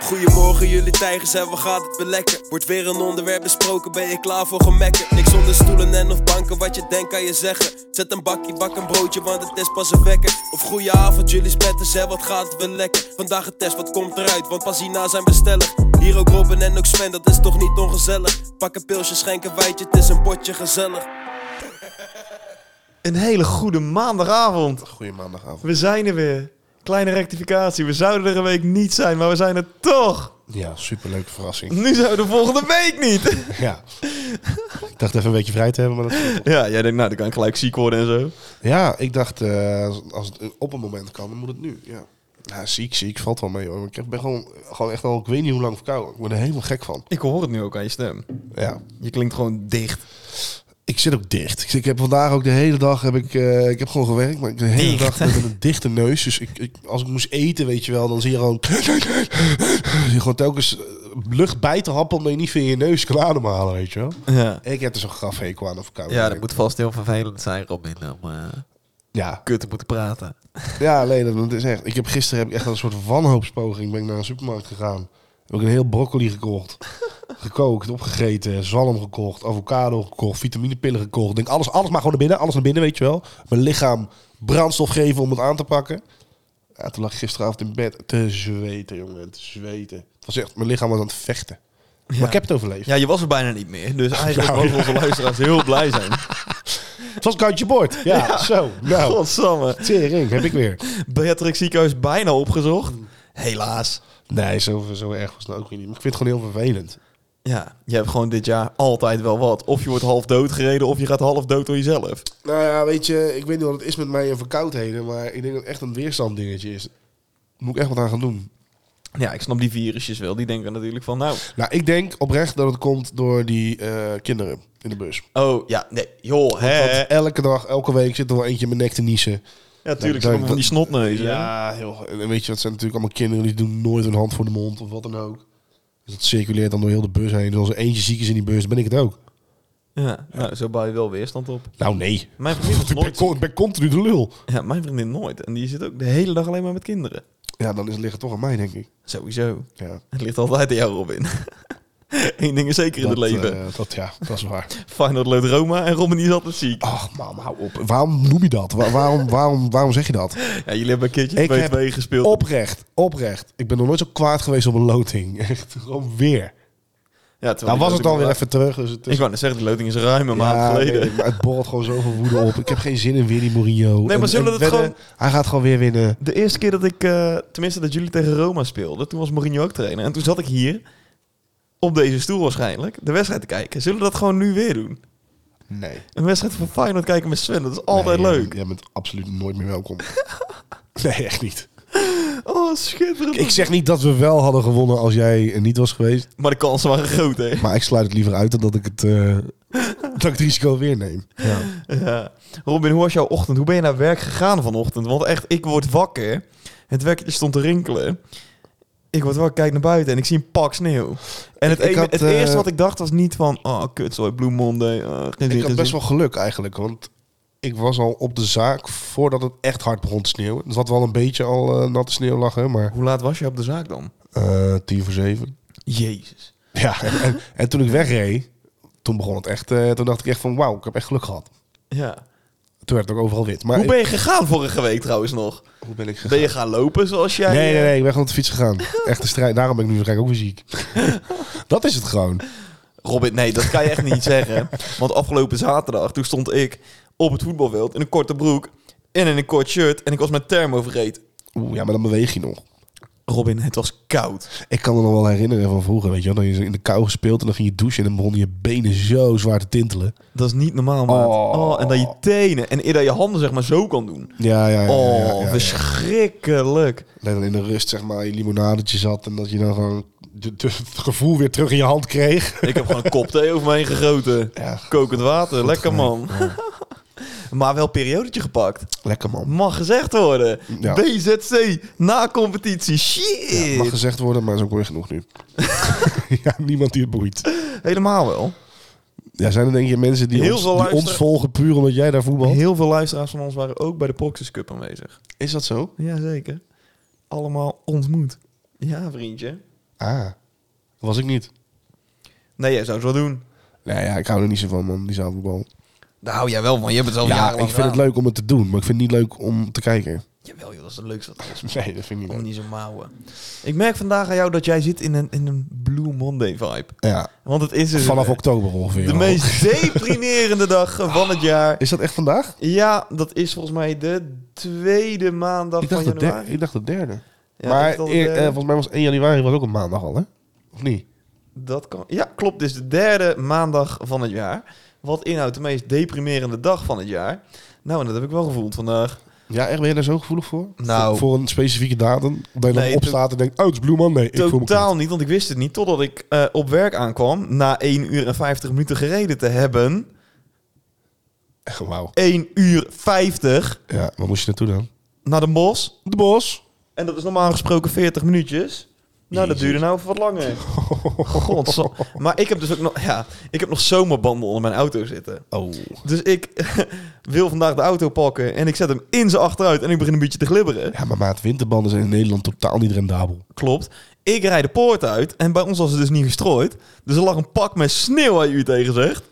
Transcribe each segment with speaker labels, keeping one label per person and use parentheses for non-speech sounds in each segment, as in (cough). Speaker 1: Goedemorgen jullie tijgers en wat gaat het weer lekker? Wordt weer een onderwerp besproken, ben je klaar voor gemekken? Niks onder stoelen en of banken, wat je denkt kan je zeggen Zet een bakje, bak een broodje, want het is pas een wekker Of goeie avond jullie spetters en wat gaat het weer lekker? Vandaag een test, wat komt eruit, want pas hierna zijn we stellig Hier ook Robin en ook Sven, dat is toch niet ongezellig? Pak een pilsje, schenk een wijtje, het is een potje gezellig
Speaker 2: Een hele goede maandagavond.
Speaker 3: Goeie maandagavond.
Speaker 2: We zijn er weer. Kleine rectificatie. We zouden er een week niet zijn, maar we zijn er toch.
Speaker 3: Ja, superleuke verrassing.
Speaker 2: Nu zijn we de volgende week niet.
Speaker 3: Ja. ik dacht even een beetje vrij te hebben. Maar dat...
Speaker 2: (laughs) Ja, jij denkt, nou, dan kan ik gelijk ziek worden en zo.
Speaker 3: Ja, ik dacht, eh, als- als het op een moment kan, dan moet het nu. Ja. Ja, ziek, ziek, valt wel mee hoor. Maar Ik ben gewoon, gewoon echt al, ik weet niet hoe lang verkouden. Ik word er helemaal gek van.
Speaker 2: Ik hoor het nu ook aan je stem.
Speaker 3: Ja.
Speaker 2: Je klinkt gewoon dicht.
Speaker 3: Ik zit ook dicht. Ik, ik heb vandaag ook de hele dag, heb ik, eh, ik heb gewoon gewerkt, maar ik de hele
Speaker 2: Dicht.
Speaker 3: dag met een dichte neus. Dus ik, ik, als ik moest eten, weet je wel, dan zie je gewoon, zie je gewoon telkens eh, lucht bij te happen omdat je niet via je neus kan ademhalen, weet je wel.
Speaker 2: Ja.
Speaker 3: Ik heb dus een grafhekel aan de verkouden.
Speaker 4: Ja, dat moet vast heel vervelend zijn, Robin, om eh
Speaker 3: Ja,
Speaker 4: kut te moeten praten.
Speaker 3: Ja, nee, dat, dat is echt. Ik heb gisteren heb ik echt een soort wanhoopspoging. Ben ik naar een supermarkt gegaan. Heb ik een heel broccoli gekocht. Gekookt, opgegeten, zalm gekocht, avocado gekocht, vitaminepillen gekocht. Denk alles, alles maar gewoon naar binnen, alles naar binnen, weet je wel. Mijn lichaam brandstof geven om het aan te pakken. Ja, toen lag ik gisteravond in bed te zweten, jongen, te zweten. Het was echt, mijn lichaam was aan het vechten. Maar ik heb het overleefd.
Speaker 2: Ja, je was er bijna niet meer. Dus eigenlijk
Speaker 3: Nou,
Speaker 2: mogen onze luisteraars heel blij zijn.
Speaker 3: Het was koudje boord. Ja, zo.
Speaker 2: Oh.
Speaker 3: Nou,
Speaker 2: Godsamme.
Speaker 3: tering, heb ik weer.
Speaker 2: Beatrix ziekenhuis bijna opgezocht. Helaas.
Speaker 3: Nee, zo, zo erg was het nou ook weer niet. Maar ik vind het gewoon heel vervelend.
Speaker 2: Ja, je hebt gewoon dit jaar altijd wel wat. Of je wordt half dood gereden, of je gaat half dood door jezelf.
Speaker 3: Nou ja, weet je, ik weet niet wat het is met mij en verkoudheden, maar ik denk dat het echt een weerstand dingetje is. Moet ik echt wat aan gaan doen.
Speaker 2: Ja, ik snap die virusjes wel. Die denken natuurlijk van, nou...
Speaker 3: Nou, ik denk oprecht dat het komt door die eh, kinderen in de bus.
Speaker 2: Oh, ja, nee, joh, hè.
Speaker 3: Want elke dag, elke week zit er wel eentje in mijn nek te niezen.
Speaker 2: Eh.
Speaker 3: Nou,
Speaker 2: Ja,
Speaker 3: tuurlijk,
Speaker 2: tuurlijk.
Speaker 3: ze komen
Speaker 2: van
Speaker 3: van
Speaker 2: die
Speaker 3: die
Speaker 2: snotneuzen.
Speaker 3: heel. En weet je, dat zijn natuurlijk allemaal kinderen die doen nooit hun hand voor de mond of wat dan ook. Dus dat circuleert dan door heel de bus heen. Dus als er eentje ziek is in die bus, dan ben ik het ook.
Speaker 2: Ja, nou, zo bouw je wel weerstand op.
Speaker 3: Nou, nee.
Speaker 2: Mijn vriendin was
Speaker 3: Ik ben,
Speaker 2: nooit ziek.
Speaker 3: con- ik ben continu de lul.
Speaker 2: Ja, mijn vriendin nooit. En die zit ook de hele dag alleen maar met kinderen.
Speaker 3: Ja, dan is het liggen toch aan mij, denk ik.
Speaker 2: Sowieso.
Speaker 3: Ja.
Speaker 2: Het ligt altijd aan jou, Robin. (laughs) Eén ding is zeker in het
Speaker 3: Dat,
Speaker 2: leven.
Speaker 3: eh, dat, ja, dat is waar.
Speaker 2: Feyenoord loopt Roma en Robin die is altijd ziek.
Speaker 3: (laughs) Ach, mam, hou op. Waarom noem je dat? Wa- waarom, waarom, waarom zeg je (laughs) dat?
Speaker 2: Ja, jullie hebben een keertje
Speaker 3: Ik heb
Speaker 2: 2-2 gespeeld.
Speaker 3: Oprecht, oprecht. Ik ben nog nooit zo kwaad geweest op een loting. (laughs) Echt, gewoon weer.
Speaker 2: Ja,
Speaker 3: Nou
Speaker 2: terwijl die
Speaker 3: was het dan weer
Speaker 2: loting-
Speaker 3: even terug. Dus het is-
Speaker 2: Ik wou net zeggen, de loting is ruim een
Speaker 3: Ja,
Speaker 2: maand geleden.
Speaker 3: weet ik, maar het borrelt gewoon zoveel woede op. Ik heb geen zin in weer die Mourinho.
Speaker 2: maar zullen we dat
Speaker 3: Hij gaat gewoon weer winnen.
Speaker 2: De eerste keer dat ik, eh, tenminste dat jullie tegen Roma speelden, toen was Mourinho ook trainer. En toen zat ik hier, op deze stoel waarschijnlijk, de wedstrijd te kijken. Zullen we dat gewoon nu weer doen?
Speaker 3: Nee.
Speaker 2: Een wedstrijd van Feyenoord kijken met Sven, dat is altijd
Speaker 3: Nee,
Speaker 2: leuk.
Speaker 3: Jij, jij bent absoluut nooit meer welkom. (laughs) nee, echt niet.
Speaker 2: Oh, schitterend.
Speaker 3: Ik zeg niet dat we wel hadden gewonnen als jij er niet was geweest.
Speaker 2: Maar de kansen waren groot, hè?
Speaker 3: Maar ik sluit het liever uit dan dat ik het, eh, dat ik het risico weer neem. Ja.
Speaker 2: Ja. Robin, hoe was jouw ochtend? Hoe ben je naar werk gegaan vanochtend? Want echt, ik word wakker. Het wekkertje stond te rinkelen. Ik word wakker, kijk naar buiten en ik zie een pak sneeuw. En het,
Speaker 3: Ik- ik
Speaker 2: ene-
Speaker 3: had,
Speaker 2: het
Speaker 3: eh,
Speaker 2: eerste wat ik dacht was niet van... Oh, kutzooi, Blue Monday. ah, geen zin,
Speaker 3: Ik
Speaker 2: geen
Speaker 3: had best
Speaker 2: zin.
Speaker 3: wel geluk eigenlijk, want ik was al op de zaak voordat het echt hard begon te sneeuwen. Er zat wel een beetje al eh, natte sneeuw lag, hè, maar
Speaker 2: Hoe laat was je op de zaak dan?
Speaker 3: eh tien voor zeven.
Speaker 2: Jezus.
Speaker 3: Ja, en, en, en toen ik wegreed, toen begon het echt, eh, toen dacht ik echt van wauw, ik heb echt geluk gehad.
Speaker 2: Ja.
Speaker 3: Toen werd het ook overal wit. Maar
Speaker 2: Hoe ben je gegaan vorige week trouwens nog?
Speaker 3: ik, hoe ben ik gegaan?
Speaker 2: Ben je gaan lopen zoals jij...
Speaker 3: Nee, nee,
Speaker 2: eh,
Speaker 3: nee, ik ben gewoon op de fiets gegaan. Echt de strijd. Daarom ben ik nu waarschijnlijk ook weer ziek. (laughs) dat is het gewoon.
Speaker 2: eh, Robin, nee, dat kan je echt
Speaker 3: (laughs)
Speaker 2: niet zeggen. Want afgelopen zaterdag, toen stond ik op het voetbalveld in een korte broek en in een kort shirt en ik was mijn thermo vergeten.
Speaker 3: Oeh, ja, maar dan beweeg je nog.
Speaker 2: Robin, het was koud.
Speaker 3: Ik kan me nog wel herinneren van vroeger, weet je wel. Dan je in de kou gespeeld en dan ging je douchen en dan begonnen je benen zo zwaar te tintelen.
Speaker 2: Dat is niet normaal, maat. Oh.
Speaker 3: Oh.
Speaker 2: en dat je tenen en dat je handen zeg maar zo kan doen.
Speaker 3: Ja, ja, ja. ja,
Speaker 2: Oh,
Speaker 3: ja, ja, ja.
Speaker 2: verschrikkelijk.
Speaker 3: Dat dan in de rust, zeg maar, je limonadetje zat en dat je dan gewoon de- de- het gevoel weer terug in je hand kreeg.
Speaker 2: Ik heb gewoon een kop thee over me heen gegoten.
Speaker 3: Ja,
Speaker 2: Kokend water, lekker man.
Speaker 3: Ja.
Speaker 2: (laughs) Maar wel periodetje gepakt.
Speaker 3: Lekker man.
Speaker 2: Mag gezegd worden.
Speaker 3: Ja.
Speaker 2: BZC, na competitie. Shit.
Speaker 3: Ja, mag gezegd (laughs) worden, maar is ook weer genoeg nu. ja, niemand die het boeit.
Speaker 2: Helemaal wel.
Speaker 3: Ja, zijn er denk je mensen die,
Speaker 2: Heel
Speaker 3: ons,
Speaker 2: veel
Speaker 3: die
Speaker 2: luisteren-
Speaker 3: ons volgen puur omdat jij daar voetbalt?
Speaker 2: Heel veel luisteraars van ons waren ook bij de Proxys Cup aanwezig.
Speaker 3: Is dat zo?
Speaker 2: Jazeker. Allemaal ontmoet. Ja, vriendje.
Speaker 3: Ah, was ik niet.
Speaker 2: Nee, jij zou het wel doen.
Speaker 3: Nou ja, ik hou er niet zo van, man, die zaalvoetbal.
Speaker 2: Nou, jij wel, man. Je hebt het al
Speaker 3: Ja, ik vind het leuk om het te doen, maar ik vind het niet leuk om te kijken.
Speaker 2: Jawel, joh, dat is het leukste wat er is.
Speaker 3: (laughs) Nee, dat vind ik
Speaker 2: Om
Speaker 3: niet
Speaker 2: niet
Speaker 3: leuk.
Speaker 2: zo mouwen. Ik merk vandaag aan jou dat jij zit in een, in een Blue Monday vibe.
Speaker 3: Ja,
Speaker 2: Want het is dus
Speaker 3: vanaf
Speaker 2: eh,
Speaker 3: oktober ongeveer.
Speaker 2: de
Speaker 3: al.
Speaker 2: meest deprimerende dag van het
Speaker 3: (laughs)
Speaker 2: jaar.
Speaker 3: Is dat echt vandaag?
Speaker 2: Ja, dat is volgens mij de tweede maandag
Speaker 3: Ik dacht,
Speaker 2: van
Speaker 3: de der-
Speaker 2: januari.
Speaker 3: ik dacht de derde.
Speaker 2: Ja,
Speaker 3: maar
Speaker 2: is dat,
Speaker 3: eer-
Speaker 2: eh,
Speaker 3: eh, volgens mij was 1 januari was ook een maandag al, hè? Of niet?
Speaker 2: Dat kan. Ja, klopt. Dit is de derde maandag van het jaar. Wat inhoudt de meest deprimerende dag van het jaar? Nou, en dat heb ik wel gevoeld vandaag.
Speaker 3: Ja, echt? Ben je daar zo gevoelig voor?
Speaker 2: Nou.
Speaker 3: Voor, voor een specifieke datum? Dat je
Speaker 2: Nee,
Speaker 3: dan opstaat en denkt, oh, het is Blue Monday. Ik voel me kut.
Speaker 2: Totaal niet, want ik wist het niet totdat ik eh, op werk aankwam. Na 1 uur en 50 minuten gereden te hebben.
Speaker 3: Echt, wauw.
Speaker 2: 1 uur 50
Speaker 3: Ja, waar moest je naartoe dan?
Speaker 2: naar de bos.
Speaker 3: De bos.
Speaker 2: En dat is normaal gesproken 40 minuutjes. Nou, dat
Speaker 3: Jezus.
Speaker 2: duurde nou even wat
Speaker 3: (laughs)
Speaker 2: langer. Godzo. Maar ik heb dus ook nog, ja, ik heb nog zomerbanden onder mijn auto zitten.
Speaker 3: Oh.
Speaker 2: Dus ik (laughs) wil vandaag de auto pakken en ik zet hem in zijn achteruit en ik begin een beetje te glibberen.
Speaker 3: Ja, maar maat, winterbanden zijn in Nederland totaal niet rendabel.
Speaker 2: Klopt. Ik rijd de poort uit en bij ons was het dus niet gestrooid. Dus er lag een pak met sneeuw aan u tegen zegt.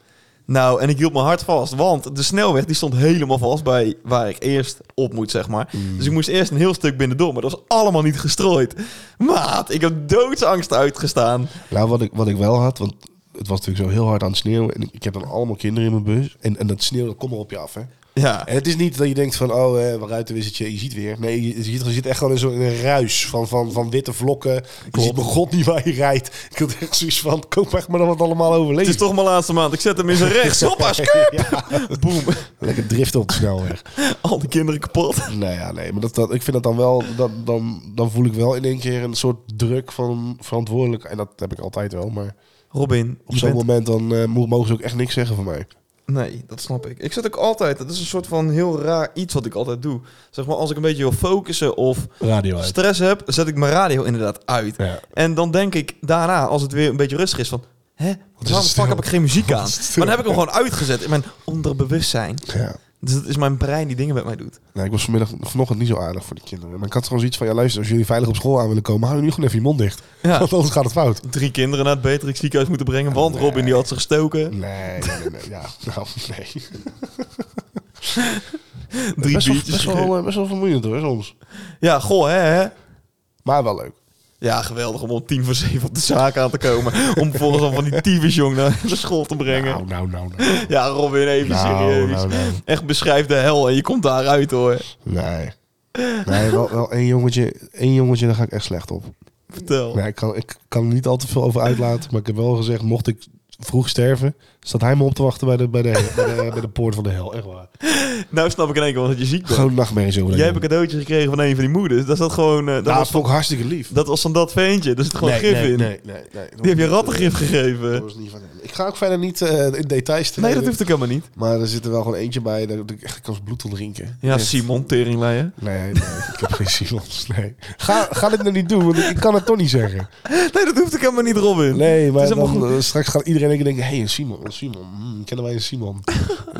Speaker 2: Nou, en ik hield mijn hart vast, want de snelweg die stond helemaal vast bij waar ik eerst op moet, zeg maar.
Speaker 3: Mm.
Speaker 2: Dus ik moest eerst een heel stuk binnendoor, maar dat was allemaal niet gestrooid. Maat, ik heb doodsangst uitgestaan.
Speaker 3: Nou, wat ik, wat ik wel had, want het was natuurlijk zo heel hard aan het sneeuwen. En ik, ik heb dan allemaal kinderen in mijn bus. En, en dat sneeuw, dat komt er op je af, hè?
Speaker 2: Ja,
Speaker 3: En het is niet dat je denkt van, oh, eh, wat ruitenwissertje, je ziet weer. Nee, je, je ziet, je zit echt gewoon in zo'n ruis van, van, van witte vlokken. Je ziet mijn god niet waar je rijdt. Ik had echt zoiets van, koop echt maar dan wat allemaal
Speaker 2: het is
Speaker 3: (laughs) overleven.
Speaker 2: toch mijn laatste maand. Ik zet hem in
Speaker 3: (laughs)
Speaker 2: zijn rechts. Hoppa, skup! Boem.
Speaker 3: Lekker driften op de snelweg.
Speaker 2: Al die kinderen kapot.
Speaker 3: nou ja, nee, maar dat, dat, ik vind dat dan wel, dat, dan, dan voel ik wel in één keer een soort druk van verantwoordelijk. En dat heb ik altijd wel, maar
Speaker 2: Robin,
Speaker 3: op
Speaker 2: je
Speaker 3: zo'n
Speaker 2: bent-
Speaker 3: moment dan eh, mo- mogen ze ook echt niks zeggen van mij.
Speaker 2: Nee, dat snap ik. Ik zit ook altijd... Dat is een soort van heel raar iets wat ik altijd doe. Zeg maar, als ik een beetje wil focussen of
Speaker 3: Radio
Speaker 2: stress heb... zet ik mijn radio inderdaad uit.
Speaker 3: Ja.
Speaker 2: En dan denk ik daarna, als het weer een beetje rustig is... van, hè, waarom
Speaker 3: stil.
Speaker 2: fuck heb ik geen muziek aan?
Speaker 3: is het stil.
Speaker 2: Maar dan heb ik hem gewoon uitgezet in mijn onderbewustzijn.
Speaker 3: ja.
Speaker 2: Dus dat is mijn brein die dingen met mij doet.
Speaker 3: Nou, ik was vanmiddag vanochtend niet zo aardig voor de kinderen. Maar ik had gewoon zoiets van, ja luister, als jullie veilig op school aan willen komen, hou nu gewoon even je mond dicht.
Speaker 2: Ja.
Speaker 3: (laughs) Want anders gaat het fout.
Speaker 2: Drie kinderen naar het Beatrix ziekenhuis moeten brengen... want Robin die had ze gestoken.
Speaker 3: Nee, nee, nee, nee. (laughs) Ja, nou, nee.
Speaker 2: Drie
Speaker 3: best, wel,
Speaker 2: biertjes.
Speaker 3: best, wel, eh, best wel vermoeiend hoor, soms.
Speaker 2: Ja, goh, hè, hè?
Speaker 3: Maar wel leuk.
Speaker 2: Ja, geweldig om om tien voor zeven op de zaak aan te komen. om vervolgens al van die tyfusjong naar de school te brengen.
Speaker 3: Nou, nou, nou. nou.
Speaker 2: Ja, Robin, even
Speaker 3: Nou,
Speaker 2: serieus.
Speaker 3: nou, nou.
Speaker 2: Echt beschrijf de hel en je komt daaruit hoor.
Speaker 3: Nee. Nee, wel, wel één jongetje, één jongetje, daar ga ik echt slecht op.
Speaker 2: Vertel.
Speaker 3: Nee, ik kan, ik kan er niet al te veel over uitlaten, maar ik heb wel gezegd, mocht ik vroeg sterven, staat hij me op te wachten bij de, bij de, bij de, bij de poort van de hel. Echt waar.
Speaker 2: Nou snap ik in één keer wel dat je ziek bent.
Speaker 3: Gewoon nachtmerries over. dat
Speaker 2: Jij hebt een
Speaker 3: jongen.
Speaker 2: cadeautje gekregen van een van die moeders. Dat zat gewoon. eh, dat,
Speaker 3: Nou,
Speaker 2: was
Speaker 3: dat
Speaker 2: van,
Speaker 3: vond ik hartstikke lief.
Speaker 2: dat was van dat veentje. Daar zit gewoon gif
Speaker 3: nee,
Speaker 2: in.
Speaker 3: Nee, nee, nee.
Speaker 2: Die heb je rattengif gegeven.
Speaker 3: Dat was niet van hem. Ik ga ook verder niet eh, in details treden.
Speaker 2: Nee, dat hoeft ook helemaal niet.
Speaker 3: Maar er zit er wel gewoon eentje bij dat ik echt als bloed wil drinken.
Speaker 2: Ja,
Speaker 3: Echt.
Speaker 2: Simon Teringleijen.
Speaker 3: Nee, nee, ik heb geen Simons. Nee. Ga, ga dit nou niet doen, want ik, ik kan het toch niet zeggen.
Speaker 2: Nee, dat hoeft ook helemaal niet, Robin.
Speaker 3: Nee, maar
Speaker 2: is helemaal
Speaker 3: dan, eh, straks gaat iedereen een keer denken... Hé, hey, een Simon, een Simon. Hmm, kennen wij een Simon?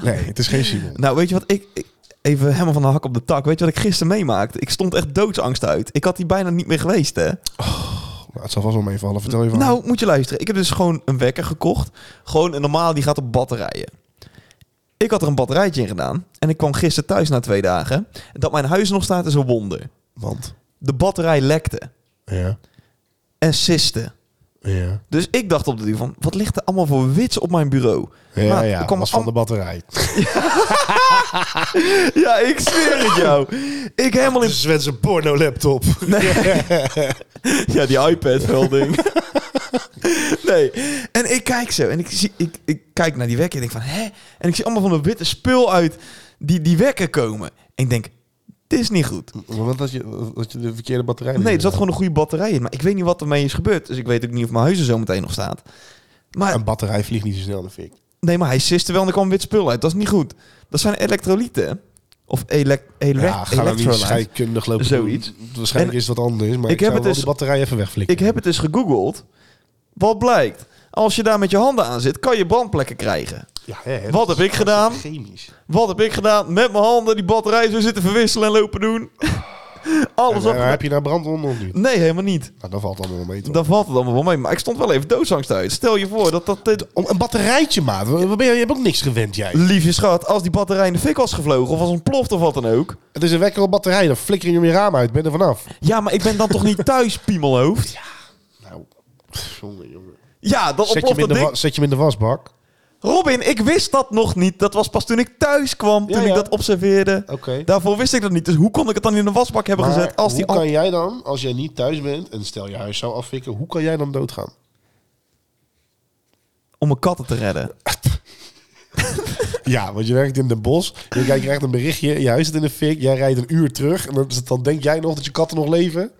Speaker 3: Nee, het is geen Simon.
Speaker 2: Nou, weet je wat ik, ik- Even helemaal van de hak op de tak. Weet je wat ik gisteren meemaakte? Ik stond echt doodsangst uit. Ik had die bijna niet meer geweest, hè?
Speaker 3: Nou, het zal vast wel meevallen, vertel je van.
Speaker 2: Nou, moet je luisteren. Ik heb dus gewoon een wekker gekocht. Gewoon een normaal, die gaat op batterijen. Ik had er een batterijtje in gedaan. En ik kwam gisteren thuis na twee dagen. Dat mijn huis nog staat is een wonder.
Speaker 3: Want?
Speaker 2: De batterij lekte
Speaker 3: Ja,
Speaker 2: en siste.
Speaker 3: ja.
Speaker 2: Dus ik dacht op de duur van, wat ligt er allemaal voor wits op mijn bureau?
Speaker 3: Ja,
Speaker 2: Maar
Speaker 3: ja,
Speaker 2: Nou, er kwam
Speaker 3: was van
Speaker 2: am-
Speaker 3: de batterij. (laughs)
Speaker 2: Ja, ik zweer het jou. Ik helemaal in...
Speaker 3: Sven zijn porno-laptop. (laughs)
Speaker 2: Ja, die iPad wel ding. Nee. En ik kijk zo. En ik, zie, ik, ik kijk naar die wekker en denk van, hè? En ik zie allemaal van de witte spul uit die, die wekker komen. En ik denk, dit is niet goed.
Speaker 3: Want dat je, dat je de verkeerde batterij...
Speaker 2: Nee, er zat
Speaker 3: dat
Speaker 2: gewoon een goede batterij in. Maar ik weet niet wat ermee is gebeurd. Dus ik weet ook niet of mijn huis er zo meteen nog staat. Maar
Speaker 3: Een batterij vliegt niet zo snel in de fik.
Speaker 2: nee, maar hij siste wel en er kwam wit spul uit. Dat is niet goed. Dat zijn elektrolyten. Of elect elec
Speaker 3: Ja, ga dan niet
Speaker 2: electrolytes.
Speaker 3: scheikundig lopen
Speaker 2: Zoiets.
Speaker 3: doen. Waarschijnlijk
Speaker 2: En-
Speaker 3: is het wat anders, maar
Speaker 2: Ik
Speaker 3: ik,
Speaker 2: heb
Speaker 3: zou
Speaker 2: het
Speaker 3: wel
Speaker 2: dus-
Speaker 3: die batterij even wegflikken.
Speaker 2: Ik heb het dus gegoogeld. Wat blijkt? Als je daar met je handen aan zit, kan je brandplekken krijgen.
Speaker 3: Ja, hè, hè,
Speaker 2: Wat
Speaker 3: dat
Speaker 2: heb ik
Speaker 3: is
Speaker 2: gedaan?
Speaker 3: Chemisch.
Speaker 2: Wat heb ik gedaan? Met mijn handen die batterij zo zitten verwisselen en lopen doen. (laughs) Alles
Speaker 3: En, eh,
Speaker 2: op.
Speaker 3: heb je nou brandwonden of niet?
Speaker 2: Nee, helemaal niet.
Speaker 3: Nou, dat valt allemaal wel mee toch?
Speaker 2: Daar valt het allemaal wel mee. Maar ik stond wel even doodsangst uit. Stel je voor dat dat... eh,
Speaker 3: Om een batterijtje, maat. Waar ben je? je hebt ook niks gewend, jij.
Speaker 2: liefje schat, als die batterij in de fik was gevlogen of was ontploft of wat dan ook.
Speaker 3: Het is een wekker op batterij, dan flikker je hem je raam uit. Ben er vanaf.
Speaker 2: Ja, maar ik ben dan toch
Speaker 3: (laughs)
Speaker 2: niet thuis, piemelhoofd?
Speaker 3: Nou, pff, jongen, jongen.
Speaker 2: Ja, dan
Speaker 3: Zet je,
Speaker 2: ontploft
Speaker 3: hem in
Speaker 2: dat
Speaker 3: de
Speaker 2: ding.
Speaker 3: wa- zet je hem in de wasbak.
Speaker 2: Robin, ik wist dat nog niet. Dat was pas toen ik thuis kwam,
Speaker 3: Ja,
Speaker 2: toen
Speaker 3: ja.
Speaker 2: ik dat observeerde.
Speaker 3: Oké.
Speaker 2: Daarvoor wist ik dat niet. Dus hoe kon ik het dan in de wasbak hebben
Speaker 3: Maar
Speaker 2: gezet als die...
Speaker 3: hoe
Speaker 2: al-
Speaker 3: kan jij dan, als jij niet thuis bent en stel je huis zou afvikken, hoe kan jij dan doodgaan?
Speaker 2: Om mijn katten te redden.
Speaker 3: Ja, want je werkt in de bos, je kijkt- krijgt een berichtje, je huis zit in de fik, jij rijdt een uur terug en dan, is het- dan denk jij nog dat je katten nog leven?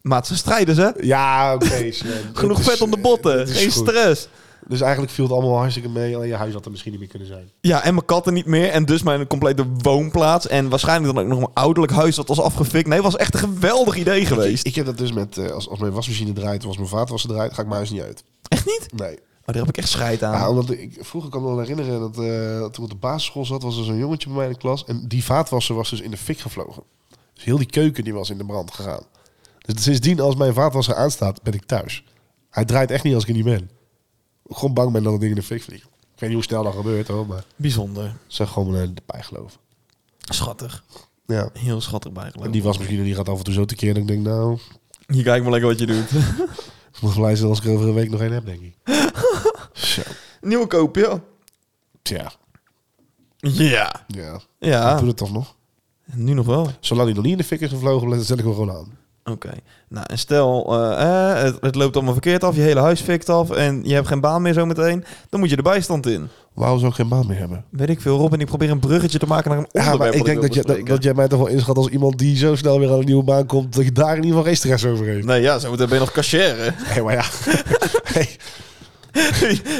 Speaker 2: Maat, ze strijden ze.
Speaker 3: Ja, oké. (laughs) Sven.
Speaker 2: dus, Genoeg
Speaker 3: Het is-
Speaker 2: vet om de botten.
Speaker 3: het is
Speaker 2: Geen
Speaker 3: goed.
Speaker 2: stress.
Speaker 3: Dus eigenlijk viel het allemaal wel hartstikke mee, alleen je huis had er misschien niet meer kunnen zijn.
Speaker 2: Ja, en mijn katten niet meer. En dus mijn complete woonplaats. En waarschijnlijk dan ook nog mijn ouderlijk huis dat was afgefikt. Nee, was echt een geweldig idee geweest.
Speaker 3: Ik heb dat dus met, eh, als, als mijn wasmachine draait of als mijn vaatwasser draait, ga ik mijn huis niet uit.
Speaker 2: Echt niet?
Speaker 3: Nee.
Speaker 2: Oh, daar heb ik echt scheid aan.
Speaker 3: Ja, omdat ik, vroeger kan ik me wel herinneren dat eh, toen ik op de basisschool zat, was er zo'n jongetje bij mij in de klas. En die vaatwasser was dus in de fik gevlogen. Dus heel die keuken die was in de brand gegaan. Dus sindsdien als mijn vaatwasser aanstaat, ben ik thuis. Hij draait echt niet als ik er niet ben. Ik gewoon bang ben dat het ding in de fik vliegt. Ik weet niet hoe snel dat gebeurt hoor, maar
Speaker 2: Bijzonder.
Speaker 3: het zijn gewoon eh, de bijgeloof.
Speaker 2: Schattig.
Speaker 3: Ja.
Speaker 2: Heel schattig bijgeloof.
Speaker 3: En die wasmachine die gaat af en toe zo tekeer dat ik denk, nou,
Speaker 2: Hier kijk maar lekker wat je doet. (laughs)
Speaker 3: ik moet blij zijn als ik er over een week nog één heb, denk (laughs) ik. zo.
Speaker 2: Nieuwe koop, ja.
Speaker 3: Tja,
Speaker 2: Ja.
Speaker 3: ja. Ik
Speaker 2: Ja,
Speaker 3: doe het toch nog.
Speaker 2: nu nog wel.
Speaker 3: Zolang hij nog niet in de fik is gevlogen, dan zet ik hem gewoon aan.
Speaker 2: Oké. Nou, en stel, eh, eh, het, het loopt allemaal verkeerd af, je hele huis fikt af en je hebt geen baan meer zometeen, dan moet je de bijstand in.
Speaker 3: Waarom zou ik geen baan meer hebben?
Speaker 2: Weet ik veel, Robin, ik probeer een bruggetje te maken naar een onderwerp.
Speaker 3: Ja, maar ik
Speaker 2: wat
Speaker 3: denk dat,
Speaker 2: wil
Speaker 3: je, dat,
Speaker 2: bespreken.
Speaker 3: dat jij mij toch wel inschat als iemand die zo snel weer aan een nieuwe baan komt... dat je daar in ieder geval geen stress over heeft.
Speaker 2: Nee, ja, zometeen ben je nog cashier, hè? (laughs)
Speaker 3: Nee, (laughs) maar ja. hey,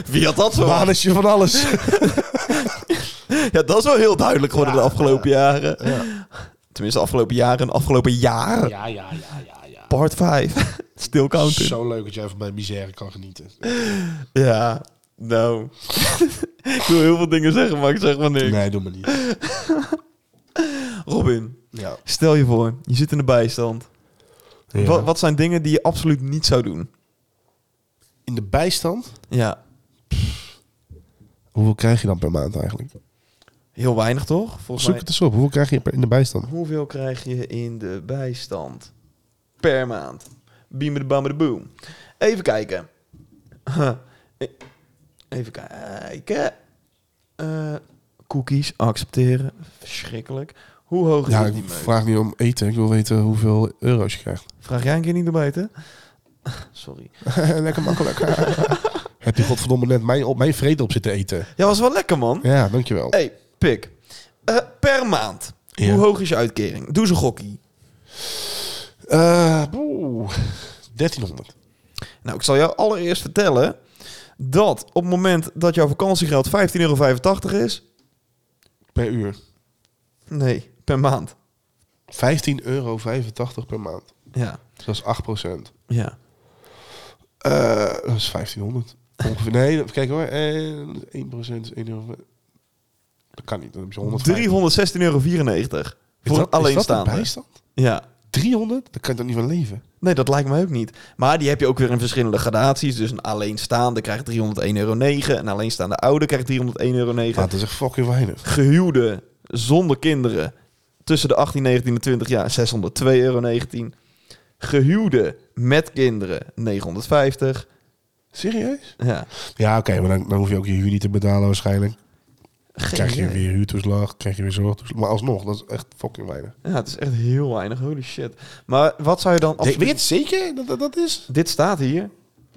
Speaker 2: Wie had dat zo?
Speaker 3: baan is je van alles.
Speaker 2: Ja, dat is wel heel duidelijk geworden de afgelopen jaren.
Speaker 3: Ja.
Speaker 2: Tenminste, de afgelopen jaren, de afgelopen jaren.
Speaker 3: ja, ja, ja, ja. ja.
Speaker 2: Part 5. Still counting.
Speaker 3: Zo leuk dat jij van mijn misère kan genieten.
Speaker 2: Ja, nou. (laughs) ik wil heel veel dingen zeggen, maar ik zeg maar niks.
Speaker 3: Nee, doe maar niet.
Speaker 2: Robin,
Speaker 3: Ja.
Speaker 2: stel je voor, je zit in de bijstand. Wat, wat zijn dingen die je absoluut niet zou doen?
Speaker 3: In de bijstand?
Speaker 2: Ja,
Speaker 3: Hoeveel krijg je dan per maand eigenlijk?
Speaker 2: heel weinig toch? Volgens
Speaker 3: Zoek het eens op. Hoeveel krijg je per- in de bijstand?
Speaker 2: mij. Hoeveel krijg je in de bijstand per maand? Beamer de bammer de boom. Even kijken. (laughs) Huh. E- Even kijken. Eh, cookies accepteren. Verschrikkelijk. Hoe hoog is
Speaker 3: Ja,
Speaker 2: het
Speaker 3: ik
Speaker 2: niet meer?
Speaker 3: vraag niet om eten. Ik wil weten hoeveel euro's je (laughs) krijgt.
Speaker 2: Vraag jij een keer niet erbij, hè? (laughs) Sorry.
Speaker 3: Lekker (laughs) makkelijk. Heb je godverdomme net mijn, op, mijn vrede op zitten eten?
Speaker 2: Ja, was wel lekker, man.
Speaker 3: Ja, dankjewel.
Speaker 2: hey, pik. Eh, per maand.
Speaker 3: Ja.
Speaker 2: Hoe hoog is je uitkering? Doe ze gokkie.
Speaker 3: Eh, boe. 1300.
Speaker 2: Nou, ik zal jou allereerst vertellen dat op het moment dat jouw vakantiegeld 15,85 euro is...
Speaker 3: Per uur.
Speaker 2: Nee, per maand.
Speaker 3: 15,85 euro per maand.
Speaker 2: Ja,
Speaker 3: Dus dat is 8 procent.
Speaker 2: ja.
Speaker 3: Eh, dat is 1500. Ongeveer. Nee, dat- kijk hoor. En 1 procent is 1 euro. Dat kan niet. Dan heb je 150.
Speaker 2: 316,94 euro.
Speaker 3: Is
Speaker 2: Voor
Speaker 3: dat-
Speaker 2: een
Speaker 3: is dat de
Speaker 2: alleenstaande.
Speaker 3: bijstand?
Speaker 2: Ja.
Speaker 3: 300? Daar kan je toch niet van leven?
Speaker 2: Nee, dat lijkt mij ook niet. Maar die heb je ook weer in verschillende gradaties. Dus een alleenstaande krijgt 301,09 euro. Een alleenstaande oude krijgt 301,09
Speaker 3: Ja, Ah, dat is echt fucking weinig.
Speaker 2: gehuwden zonder kinderen tussen de 18, 19 en 20 jaar 602,19 euro. Gehuwden met kinderen 950.
Speaker 3: Serieus?
Speaker 2: Ja,
Speaker 3: Ja, oké. maar dan, dan hoef je ook je huur niet te betalen waarschijnlijk.
Speaker 2: geen
Speaker 3: Krijg je
Speaker 2: idee.
Speaker 3: weer huurtoeslag, krijg je weer zorgtoeslag. Maar alsnog, dat is echt fucking weinig.
Speaker 2: Ja, het is echt heel weinig. Holy shit. Maar wat zou je dan...
Speaker 3: Weet
Speaker 2: absoluut-
Speaker 3: je het zeker dat dat, dat is?
Speaker 2: Dit staat hier.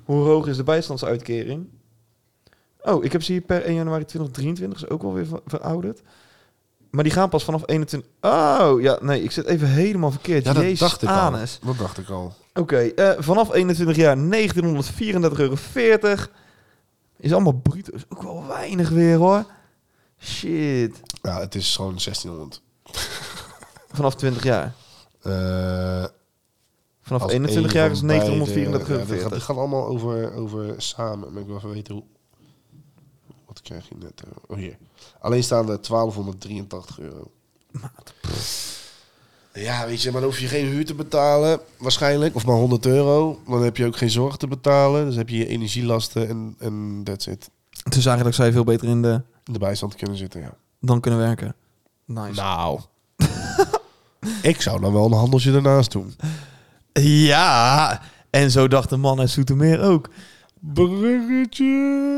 Speaker 2: Hoe hoog is de bijstandsuitkering? Oh, ik heb ze hier per 1 januari 2023. Is ook alweer ver- verouderd. Maar die gaan pas vanaf 21... Oh, ja, nee. Ik zit even helemaal verkeerd.
Speaker 3: Ja, dat
Speaker 2: Jezus,
Speaker 3: dacht ik al.
Speaker 2: anus.
Speaker 3: Dat dacht ik al.
Speaker 2: Oké, eh, vanaf 21 jaar 1934,40 euro. Is allemaal bruto. Is ook wel weinig weer hoor. Shit.
Speaker 3: Ja, het is gewoon 1600.
Speaker 2: Vanaf 20 jaar.
Speaker 3: Eh,
Speaker 2: Vanaf
Speaker 3: Als
Speaker 2: 21 jaar
Speaker 3: één
Speaker 2: is
Speaker 3: van
Speaker 2: 934
Speaker 3: beide, ja, dat
Speaker 2: euro.
Speaker 3: gaat- dat gaat allemaal over, over samen. Maar ik wil even weten hoe... Wat krijg je net? eh, Oh, hier. Alleen staan er 1283 euro. Ja, weet je, maar dan hoef je geen huur te betalen, waarschijnlijk. Of maar 100 euro. Dan heb je ook geen zorg te betalen. Dus heb je je energielasten en, en that's it.
Speaker 2: Dus eigenlijk zou je veel beter in de
Speaker 3: In de bijstand kunnen zitten, ja.
Speaker 2: dan kunnen werken. Nice.
Speaker 3: Nou. (laughs) ik zou dan wel een handeltje ernaast (laughs) doen. Nou.
Speaker 2: Ja, en zo dacht de man uit Zoetermeer ook.
Speaker 3: Bruggetje.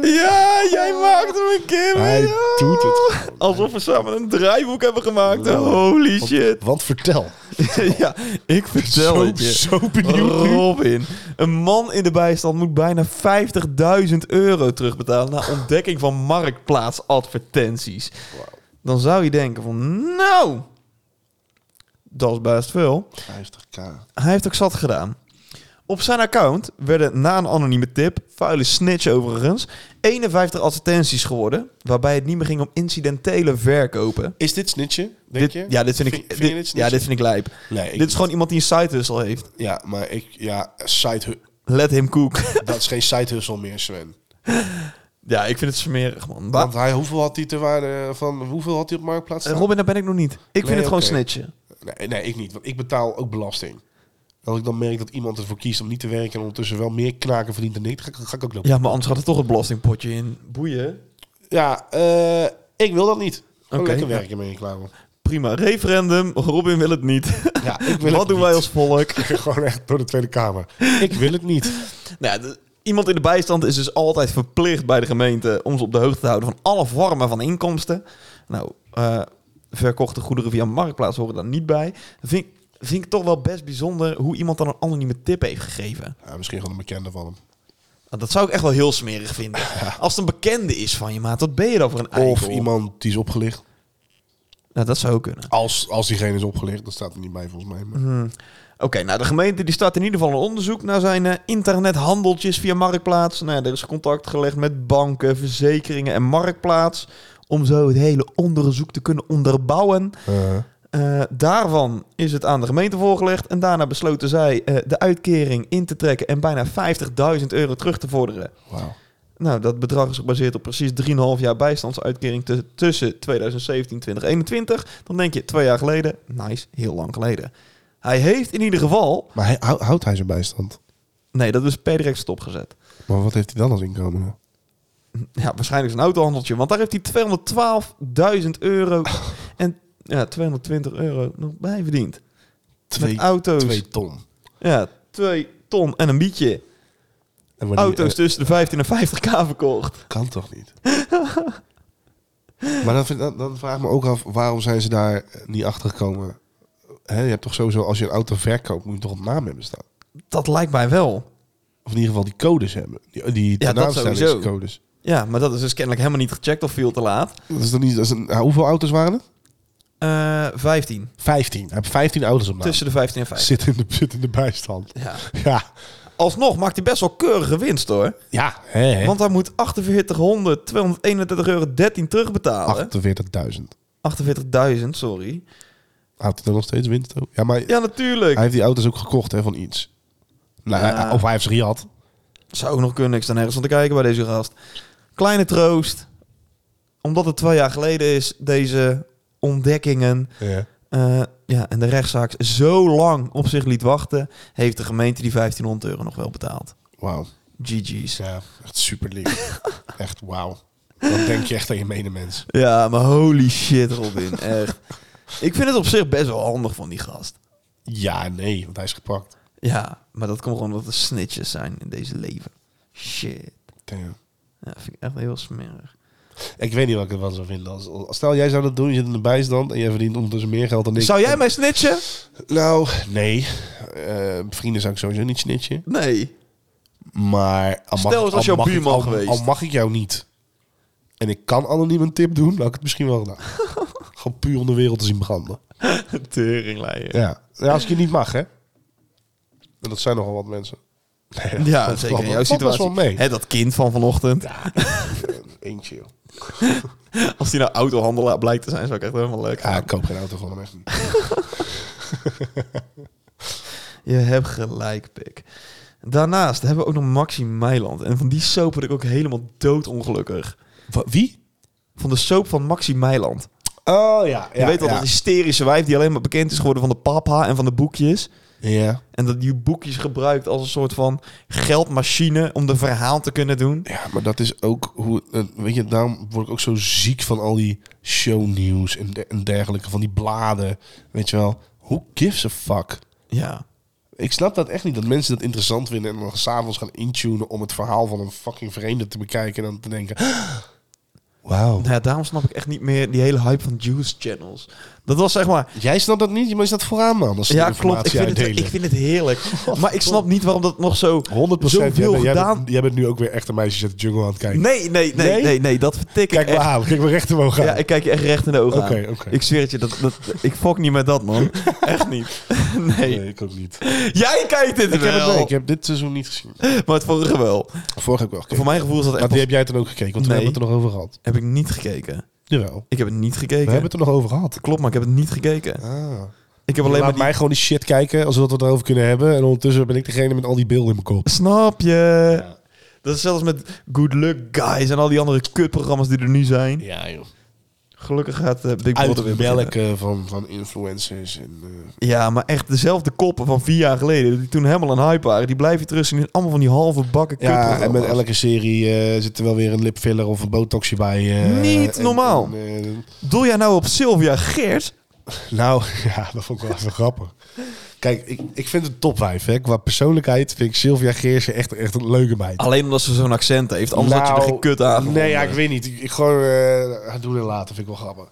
Speaker 2: Ja, jij maakt hem een keer
Speaker 3: Hij
Speaker 2: weer. Oh.
Speaker 3: doet het gewoon.
Speaker 2: Alsof we samen een draaiboek hebben gemaakt.
Speaker 3: Ja.
Speaker 2: Holy
Speaker 3: Want-
Speaker 2: shit. (laughs)
Speaker 3: Want vertel.
Speaker 2: ja, ik vertel
Speaker 3: zo,
Speaker 2: het je.
Speaker 3: zo benieuwd nu.
Speaker 2: Robin, een man in de bijstand moet bijna 50.000 euro terugbetalen... na ontdekking van marktplaatsadvertenties.
Speaker 3: Oh.
Speaker 2: Dan zou je denken van, nou, dat is best veel.
Speaker 3: 50k.
Speaker 2: Hij heeft ook zat gedaan. Op zijn account werden na een anonieme tip, vuile snitch overigens, 51 advertenties geworden. Waarbij het niet meer ging om incidentele verkopen.
Speaker 3: Is dit snitje, denk je?
Speaker 2: dit, ja, dit vind ik,
Speaker 3: Vind- vind
Speaker 2: dit-
Speaker 3: je dit
Speaker 2: ja,
Speaker 3: snitchen?
Speaker 2: dit vind ik lijp.
Speaker 3: Nee, ik-
Speaker 2: dit is gewoon iemand die een side hustle heeft.
Speaker 3: Ja, maar ik... Ja, side hu- (laughs)
Speaker 2: Let him cook. (laughs)
Speaker 3: dat is geen side hustle meer, Sven.
Speaker 2: ja, ik vind het smerig, man. Maar,
Speaker 3: Want hij, hoeveel had hij te waarde van... Hoeveel had hij op Marktplaats
Speaker 2: eh,
Speaker 3: staan?
Speaker 2: Robin, daar ben ik nog niet. Ik vind
Speaker 3: Nee,
Speaker 2: het gewoon
Speaker 3: oké.
Speaker 2: snitchen.
Speaker 3: Nee, nee, ik niet. Want ik betaal ook belasting. Als ik dan merk dat iemand ervoor kiest om niet te werken... en ondertussen wel meer knaken verdient dan ik... ga, ik- ga ik ook lopen.
Speaker 2: Ja, maar anders gaat er toch het belastingpotje in. Boeien.
Speaker 3: Ja, eh, ik wil dat niet. Gewoon
Speaker 2: Oké.
Speaker 3: lekker werken ben je klaar voor.
Speaker 2: Prima. Referendum. Robin wil het niet.
Speaker 3: (laughs) Ja, ik wil
Speaker 2: Wat
Speaker 3: het
Speaker 2: doen
Speaker 3: niet.
Speaker 2: wij als volk?
Speaker 3: (laughs) Gewoon echt door de Tweede Kamer. Ik wil het niet.
Speaker 2: Nou, ja, de- iemand in de bijstand is dus altijd verplicht bij de gemeente om ze op de hoogte te houden van alle vormen van inkomsten. Nou, eh, verkochte goederen via marktplaats horen daar niet bij. Vind, vind ik toch wel best bijzonder hoe iemand dan een anonieme tip heeft gegeven.
Speaker 3: Ja, misschien gewoon een bekende van hem.
Speaker 2: Nou, dat zou ik echt wel heel smerig
Speaker 3: (laughs)
Speaker 2: vinden. Als het een bekende is van je maat, wat ben je dan voor een eikel?
Speaker 3: Of iemand die is opgelicht.
Speaker 2: Nou, dat zou ook kunnen.
Speaker 3: Als, als diegene is opgelicht, dan staat er niet bij volgens mij. Maar...
Speaker 2: Oké, nou de gemeente die start in ieder geval een onderzoek naar zijn eh, internethandeltjes via Marktplaats. Nou ja, er is contact gelegd met banken, verzekeringen en Marktplaats. Om zo het hele onderzoek te kunnen onderbouwen.
Speaker 3: Eh,
Speaker 2: Eh, daarvan is het aan de gemeente voorgelegd. En daarna besloten zij eh, de uitkering in te trekken en bijna 50.000 euro terug te vorderen.
Speaker 3: Wauw.
Speaker 2: Nou, dat bedrag is gebaseerd op precies 3,5 jaar bijstandsuitkering tuss- tussen 2017 en 2021. Dan denk je, twee jaar geleden, nice, heel lang geleden. Hij heeft in ieder geval
Speaker 3: Maar hij, hou- houdt hij zijn bijstand?
Speaker 2: Nee, dat is per direct stopgezet.
Speaker 3: Maar wat heeft hij dan als inkomen?
Speaker 2: Ja, waarschijnlijk zijn autohandeltje. Want daar heeft hij 212.000 (laughs) euro en ja, 220 euro nog bij verdiend.
Speaker 3: Twee,
Speaker 2: Met auto's.
Speaker 3: twee ton.
Speaker 2: Ja, 2 ton en een bietje.
Speaker 3: En wanneer-
Speaker 2: Auto's tussen de 15 en 50k verkocht.
Speaker 3: eh, kan toch niet? maar dan, vind- dan, dan vraag ik me ook af, waarom zijn ze daar eh, niet achter gekomen? Hè, je hebt toch sowieso, als je een auto verkoopt, moet je toch op naam hebben staan?
Speaker 2: Dat lijkt mij wel.
Speaker 3: Of in ieder geval die codes hebben. Die, die
Speaker 2: dat
Speaker 3: naamstellingscodes.
Speaker 2: Ja, maar dat is dus kennelijk helemaal niet gecheckt of veel te laat.
Speaker 3: Dat is dan niet, dat is een, ja, hoeveel auto's waren het?
Speaker 2: Eh 15.
Speaker 3: 15. Hij heeft 15 auto's op naam.
Speaker 2: Tussen de 15 en 15.
Speaker 3: Zit in de, zit in de bijstand.
Speaker 2: Ja.
Speaker 3: Ja.
Speaker 2: Alsnog maakt hij best wel keurige winst hoor.
Speaker 3: Ja. Hè, hè?
Speaker 2: Want hij moet 4800, 231 euro 13 terugbetalen.
Speaker 3: 48.000.
Speaker 2: 48.000, sorry.
Speaker 3: Houdt het dan nog steeds winst ook? Ja, maar
Speaker 2: Ja, natuurlijk.
Speaker 3: hij heeft die auto's ook gekocht hè, van iets. Nou,
Speaker 2: Ja.
Speaker 3: hij- of hij heeft ze gejat.
Speaker 2: Zou ook nog kunnen. Ik sta nergens aan te kijken bij deze gast. Kleine troost. Omdat het twee jaar geleden is, deze ontdekkingen.
Speaker 3: Ja.
Speaker 2: eh, ja, en de rechtszaak zo lang op zich liet wachten, heeft de gemeente die 1500 euro nog wel betaald.
Speaker 3: Wauw.
Speaker 2: GG's.
Speaker 3: Ja, echt super (laughs) lief. echt wauw. Dan denk je echt aan je medemens.
Speaker 2: Ja, maar holy shit, (laughs) Robin. echt. Ik vind het op zich best wel handig van die gast.
Speaker 3: Ja, nee, want hij is gepakt.
Speaker 2: Ja, maar dat komt gewoon omdat er snitches zijn in deze leven. Shit.
Speaker 3: Damn.
Speaker 2: Ja, vind ik echt heel smerig.
Speaker 3: Ik weet niet wat ik ervan zou vinden. Als, als- stel, jij zou dat doen, je zit in de bijstand en jij verdient ondertussen meer geld dan ik.
Speaker 2: Zou jij mij snitchen?
Speaker 3: Nou, nee. Eh, vrienden zou ik sowieso niet snitchen.
Speaker 2: (laughs) Nee.
Speaker 3: Maar al
Speaker 2: Stel eens als jouw
Speaker 3: al mag ik-
Speaker 2: buurman
Speaker 3: al-
Speaker 2: geweest.
Speaker 3: Al mag ik jou niet. En ik kan anoniem een tip doen, dan had ik het misschien wel
Speaker 2: (laughs)
Speaker 3: gedaan. Gewoon puur om de wereld te zien branden.
Speaker 2: Teringleier.
Speaker 3: Ja. ja, als ik je niet mag, hè. En dat zijn nogal wat mensen. (laughs) Nee,
Speaker 2: Ja,
Speaker 3: dat
Speaker 2: zeker.
Speaker 3: valt-
Speaker 2: In jouw
Speaker 3: valt best
Speaker 2: situatie.
Speaker 3: wel mee.
Speaker 2: Hè, dat kind van vanochtend.
Speaker 3: Eentje, joh.
Speaker 2: (laughs) Als die nou autohandelaar blijkt te zijn, zou ik echt helemaal leuk.
Speaker 3: Ja, ik koop geen auto van hem echt niet.
Speaker 2: Ja, Je hebt gelijk, pik. Daarnaast hebben we ook nog Maxi Meiland. En van die soap word ik ook helemaal doodongelukkig.
Speaker 3: Wa- Wie?
Speaker 2: Van de soap van Maxi Meiland.
Speaker 3: Oh ja.
Speaker 2: je weet wel, dat hysterische wijf die alleen maar bekend is geworden van de papa en van de boekjes.
Speaker 3: Ja.
Speaker 2: En dat die boekjes gebruikt als een soort van geldmachine om de verhaal te kunnen doen.
Speaker 3: Ja, maar dat is ook hoe. eh, Weet je, daarom word ik ook zo ziek van al die shownieuws en, de- en dergelijke, van die bladen. Weet je wel, who gives a fuck?
Speaker 2: Ja.
Speaker 3: Ik snap dat echt niet, dat mensen dat interessant vinden en dan s'avonds gaan intunen om het verhaal van een fucking vreemde te bekijken en dan te denken. Wauw.
Speaker 2: Nou ja, daarom snap ik echt niet meer die hele hype van juice channels. Dat was zeg maar...
Speaker 3: Jij snapt dat niet, maar is dat vooraan man? Als ze
Speaker 2: Ja,
Speaker 3: de
Speaker 2: klopt. Ik
Speaker 3: informatie Oh,
Speaker 2: vind, het, ik vind het
Speaker 3: (laughs)
Speaker 2: heerlijk. Maar ik snap niet waarom dat nog zo...
Speaker 3: 100 procent. Jij,
Speaker 2: Zoveel
Speaker 3: bent- jij,
Speaker 2: gedaan.
Speaker 3: bent- jij bent nu ook weer echt een meisje uit de jungle aan het kijken.
Speaker 2: Nee, nee, nee,
Speaker 3: Nee?
Speaker 2: nee, nee, dat vertik ik
Speaker 3: Kijk maar
Speaker 2: echt.
Speaker 3: aan, kijk maar recht omhoog aan.
Speaker 2: Ja, ik kijk je echt recht in de ogen
Speaker 3: Oké,
Speaker 2: aan.
Speaker 3: oké.
Speaker 2: Ik zweer het je, dat, dat, ik fok niet met dat,
Speaker 3: (laughs)
Speaker 2: man. echt niet. (laughs) Nee.
Speaker 3: Nee, ik ook niet.
Speaker 2: Jij kijkt dit
Speaker 3: Ik heb, het,
Speaker 2: wel.
Speaker 3: nee, ik heb dit seizoen niet gezien.
Speaker 2: Maar het vorige wel.
Speaker 3: Vorige heb ik wel gekeken.
Speaker 2: Voor mijn gevoel is dat echt...
Speaker 3: Maar
Speaker 2: pas-
Speaker 3: die heb jij toen ook gekeken, want we
Speaker 2: Nee.
Speaker 3: hebben het er nog over gehad.
Speaker 2: Heb ik niet gekeken.
Speaker 3: Jawel.
Speaker 2: Ik heb het niet gekeken.
Speaker 3: We hebben het er nog over gehad.
Speaker 2: Klopt, maar ik heb het niet gekeken. Ik heb alleen
Speaker 3: Ah. Laat
Speaker 2: maar die...
Speaker 3: mij gewoon die shit kijken, alsof we het erover kunnen hebben. En ondertussen ben ik degene met al die beelden in mijn kop.
Speaker 2: Snap je? Dat is zelfs met Good Luck Guys en al die andere kutprogramma's die er nu zijn.
Speaker 3: Ja, joh.
Speaker 2: Gelukkig gaat eh, Big Brother weer
Speaker 3: Uit
Speaker 2: beginnen.
Speaker 3: welke van, van influencers en... eh,
Speaker 2: Ja, maar echt dezelfde koppen van vier jaar geleden, die toen helemaal een hype waren, die blijven terug in allemaal van die halve bakken
Speaker 3: ja, en met
Speaker 2: kutprogramma's.
Speaker 3: elke serie eh, zit er wel weer een lipfiller of een botoxje bij. eh,
Speaker 2: Niet
Speaker 3: en-
Speaker 2: normaal.
Speaker 3: en, eh,
Speaker 2: Doe jij nou op Sylvia Geert?
Speaker 3: nou, (laughs) ja, dat vond ik wel even grappig. Kijk, ik, ik vind het topwijf, hè. Qua persoonlijkheid vind ik Sylvia Geersen echt, echt een leuke meid.
Speaker 2: Alleen omdat ze zo'n accent heeft, anders had je er geen kut aan. gevonden.
Speaker 3: Nou, Nee, ja, ik weet niet. Ik, ik gewoon eh, haar doen en laten vind ik wel grappig.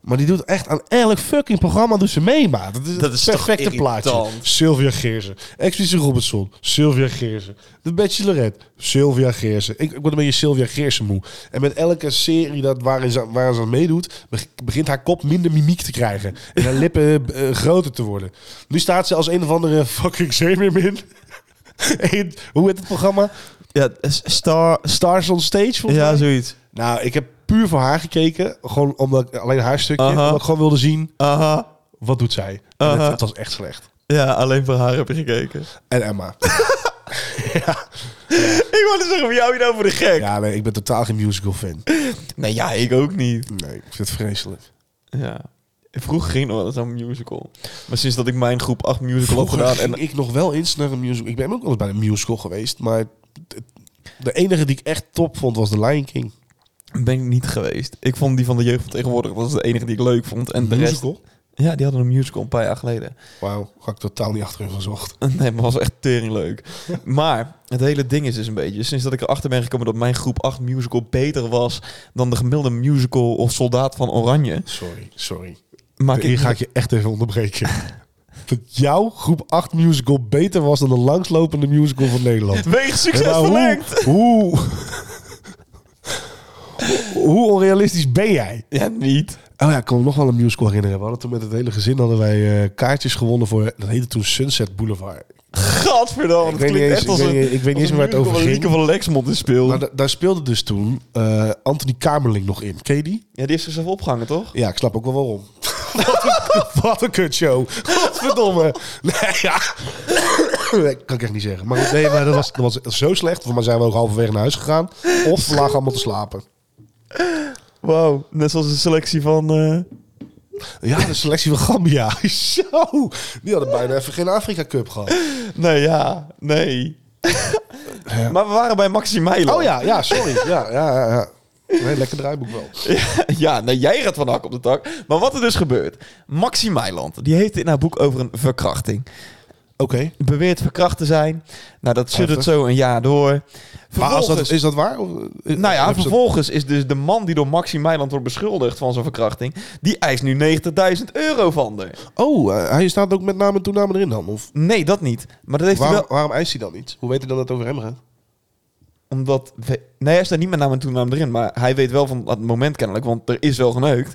Speaker 3: Maar die doet echt aan elk fucking programma doet ze mee, maat. Dat is
Speaker 2: Dat
Speaker 3: het
Speaker 2: is toch
Speaker 3: perfecte
Speaker 2: irritant?
Speaker 3: plaatje. Sylvia Geersen. Expeditie Robinson. Sylvia Geersen. De Bachelorette. Sylvia Geersen. Ik, ik word een beetje Sylvia Geersen moe. En met elke serie dat, waarin, ze, waarin ze aan meedoet... beg- begint haar kop minder mimiek te krijgen. En haar lippen eh, groter te worden. Nu staat ze als een of andere fucking zeemim in. (laughs) Eén- Hoe heet het programma?
Speaker 2: Ja, s- Star...
Speaker 3: Stars on Stage, volgens mij?
Speaker 2: Ja, zoiets.
Speaker 3: Nou, ik heb puur voor haar gekeken. Gewoon omdat ik alleen haar stukje.
Speaker 2: Aha.
Speaker 3: Omdat ik gewoon wilde zien,
Speaker 2: Aha.
Speaker 3: wat doet zij? En
Speaker 2: Aha.
Speaker 3: het, het was echt slecht.
Speaker 2: Ja, alleen voor haar heb je gekeken. (laughs)
Speaker 3: En Emma.
Speaker 2: Ik wilde zeggen, wie hou je nou voor de gek?
Speaker 3: ja, nee, ik ben totaal geen musical fan.
Speaker 2: Nee, ja, ik ook niet.
Speaker 3: Nee, ik vind het vreselijk.
Speaker 2: Ja. Vroeger ging nog wel eens aan oh, een musical. Maar sinds dat ik mijn groep 8 musical had
Speaker 3: Vroeger
Speaker 2: gedaan...
Speaker 3: ging
Speaker 2: En,
Speaker 3: ik nog wel eens naar een musical. Ik ben ook wel eens bij een musical geweest, maar... het- De enige die ik echt top vond was The Lion King.
Speaker 2: ben ik niet geweest. Ik vond die van de jeugd van tegenwoordig dat was de enige die ik leuk vond. En de rest,
Speaker 3: musical?
Speaker 2: ja, die hadden een musical een paar jaar geleden. (laughs)
Speaker 3: Wauw, had ik totaal niet achter hun gezocht.
Speaker 2: Nee, maar was echt tering leuk.
Speaker 3: (laughs)
Speaker 2: Maar het hele ding is dus een beetje, sinds dat ik erachter ben gekomen dat mijn groep 8 musical beter was dan de gemiddelde musical of Soldaat van Oranje,
Speaker 3: Sorry, sorry.
Speaker 2: maak
Speaker 3: Hier
Speaker 2: ik,
Speaker 3: ga ik je echt even onderbreken. Dat jouw groep 8 musical beter was dan de langslopende musical van Nederland.
Speaker 2: wegens succes
Speaker 3: Ja, maar
Speaker 2: verlengd.
Speaker 3: Hoe, hoe, hoe onrealistisch ben jij?
Speaker 2: Ja, niet.
Speaker 3: Oh ja, ik kan me nog wel een musical herinneren. We hadden toen met het hele gezin hadden wij eh, kaartjes gewonnen voor... Dat heette toen Sunset Boulevard.
Speaker 2: Gadverdamme,
Speaker 3: Ik
Speaker 2: dat
Speaker 3: weet niet
Speaker 2: klinkt
Speaker 3: eens-
Speaker 2: echt als
Speaker 3: ik weet
Speaker 2: een...
Speaker 3: niet- ik weet niet
Speaker 2: als
Speaker 3: eens meer waar het
Speaker 2: een musical
Speaker 3: over
Speaker 2: waar
Speaker 3: ging.
Speaker 2: Lieke van Lexmond in speelde.
Speaker 3: Maar da- daar speelde dus toen eh, Anthony Kamerling nog in. Ken je die?
Speaker 2: Ja, die heeft zichzelf opgehangen, toch?
Speaker 3: Ja, ik snap ook wel waarom. (laughs) wat, een, wat een kutshow. Godverdomme. Nee, ja. Nee, kan ik echt niet zeggen. Maar, goed, nee, maar dat, was, dat was zo slecht. Voor mij zijn we ook halverwege naar huis gegaan. Of we lagen allemaal te slapen.
Speaker 2: Wauw, net zoals de selectie van... eh,
Speaker 3: Ja, de selectie van Gambia. (laughs) Zo. Die hadden bijna even geen Afrika Cup gehad.
Speaker 2: Nee, ja, nee. maar we waren bij Maxi Meiland.
Speaker 3: Oh ja, ja, sorry. Ja, ja, ja, ja. Nee, lekker draaiboek wel.
Speaker 2: (laughs) ja, nou jij gaat van hak op de tak. Maar wat er dus gebeurt. Maxi Meiland, die heeft in haar boek over een verkrachting.
Speaker 3: Oké.
Speaker 2: Beweert verkracht te zijn. Nou, dat
Speaker 3: Heftig.
Speaker 2: het zo een jaar door.
Speaker 3: Maar als
Speaker 2: Vervolgens,
Speaker 3: dat, is dat waar? Of, eh,
Speaker 2: nou ja,
Speaker 3: hebben ze-
Speaker 2: vervolgens is dus de man die door Maxi Meiland wordt beschuldigd van zijn verkrachting... die eist nu 90.000 euro van haar.
Speaker 3: Oh, eh, hij staat ook met naam en toename erin dan? Of
Speaker 2: Nee, dat niet. Maar dat heeft
Speaker 3: waarom,
Speaker 2: hij wel...
Speaker 3: waarom eist hij dan niet? Hoe weet hij dan dat het over hem gaat?
Speaker 2: Omdat... we- Nee, hij staat niet met naam en toenaam erin. Maar hij weet wel van dat moment kennelijk. Want er is wel geneukt.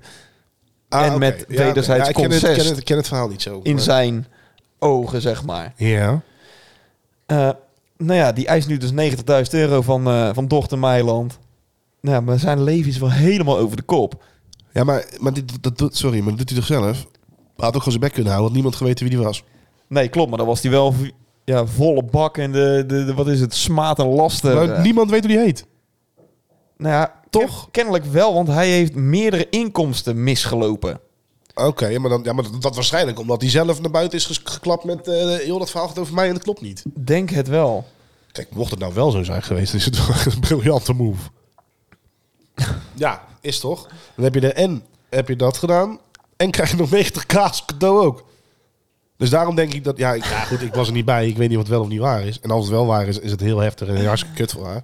Speaker 2: En
Speaker 3: Ah, oké.
Speaker 2: met
Speaker 3: oké.
Speaker 2: wederzijds
Speaker 3: ik ken het,
Speaker 2: consent.
Speaker 3: ken het, ken het verhaal niet zo.
Speaker 2: In
Speaker 3: maar-
Speaker 2: zijn ogen, zeg maar.
Speaker 3: Ja.
Speaker 2: Eh, nou ja, die eist nu dus 90.000 euro van, eh, van dochter Meiland. Nou, ja, maar zijn leven is wel helemaal over de kop.
Speaker 3: Ja, maar, maar dit, dat, doet- sorry, maar dat doet hij toch zelf? Hij had ook gewoon zijn bek kunnen houden, want niemand geweten wie die was.
Speaker 2: Nee, klopt, maar dan was hij wel v- ja, volle bak en de, de, de- wat is het, smaad en laster.
Speaker 3: Maar
Speaker 2: eh.
Speaker 3: niemand weet hoe die heet.
Speaker 2: nou ja, toch kennelijk wel, want hij heeft meerdere inkomsten misgelopen.
Speaker 3: Oké, maar, dan, ja, maar dat, dat waarschijnlijk omdat hij zelf naar buiten is ges- geklapt met... eh joh, dat verhaal gaat over mij en dat klopt niet.
Speaker 2: Denk het wel.
Speaker 3: Kijk, mocht het nou wel zo zijn geweest, dan is het (laughs) wel een briljante move. (laughs) ja, is toch? Dan heb je de en heb je dat gedaan en krijg je nog 90 kaas cadeau ook. Dus daarom denk ik dat... Ja, ik- ja, goed, ik was er niet bij. Ik weet niet wat wel of niet waar is. En als het wel waar is, is het heel heftig en hartstikke kut voor haar. Maar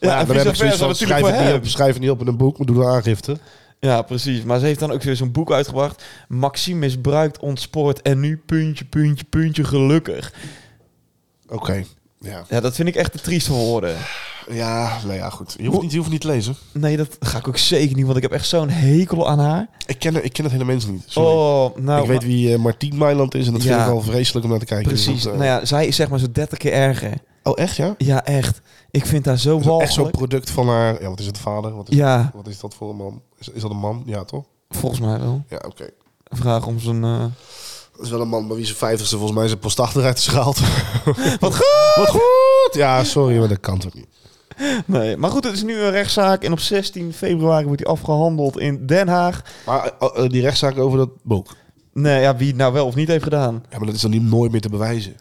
Speaker 2: Ja,
Speaker 3: ja,
Speaker 2: en
Speaker 3: dan heb ik
Speaker 2: vice
Speaker 3: zoiets
Speaker 2: versa
Speaker 3: van,
Speaker 2: natuurlijk
Speaker 3: schrijf het,
Speaker 2: voor
Speaker 3: niet
Speaker 2: hem.
Speaker 3: op, schrijf het niet op in een boek, maar doe een aangifte.
Speaker 2: Ja, precies. Maar ze heeft dan ook weer zo'n boek uitgebracht. Maxime misbruikt, ontspoort en nu puntje, puntje, puntje, gelukkig.
Speaker 3: Oké, ja.
Speaker 2: Ja, dat vind ik echt te triest voor woorden.
Speaker 3: Ja, nou ja, goed. Je hoeft niet, je hoeft niet te lezen.
Speaker 2: Nee, dat ga ik ook zeker niet, want ik heb echt zo'n hekel aan haar.
Speaker 3: Ik ken, ik ken het hele mens niet. Sorry.
Speaker 2: Oh, nou,
Speaker 3: ik weet wie eh, Martien Meiland is en dat
Speaker 2: Ja.
Speaker 3: vind ik al vreselijk om naar te kijken. Dus
Speaker 2: precies.
Speaker 3: dat, eh,
Speaker 2: Nou ja, zij is zeg maar zo'n 30 keer erger.
Speaker 3: Oh, echt ja?
Speaker 2: Ja, echt. Ik vind haar zo
Speaker 3: Is dat echt zo'n
Speaker 2: walgelijk.
Speaker 3: product van haar... Ja, wat is het, vader? Wat is,
Speaker 2: Ja,
Speaker 3: wat is dat voor een man? Is, is dat een man? Ja, toch?
Speaker 2: volgens mij wel.
Speaker 3: Ja, oké.
Speaker 2: Vraag om zijn... eh,
Speaker 3: Dat is wel een man, maar wie zijn vijftigste volgens mij zijn postdag eruit is gehaald. (laughs) wat goed! (laughs) Wat goed! Ja, sorry, maar dat kan toch niet.
Speaker 2: Nee, maar goed, het is nu een rechtszaak. En op 16 februari wordt hij afgehandeld in Den Haag.
Speaker 3: Maar eh, eh, die rechtszaak over dat boek...
Speaker 2: Nee, ja, wie het nou wel of niet heeft gedaan.
Speaker 3: Ja, maar dat is dan niet nooit meer te bewijzen.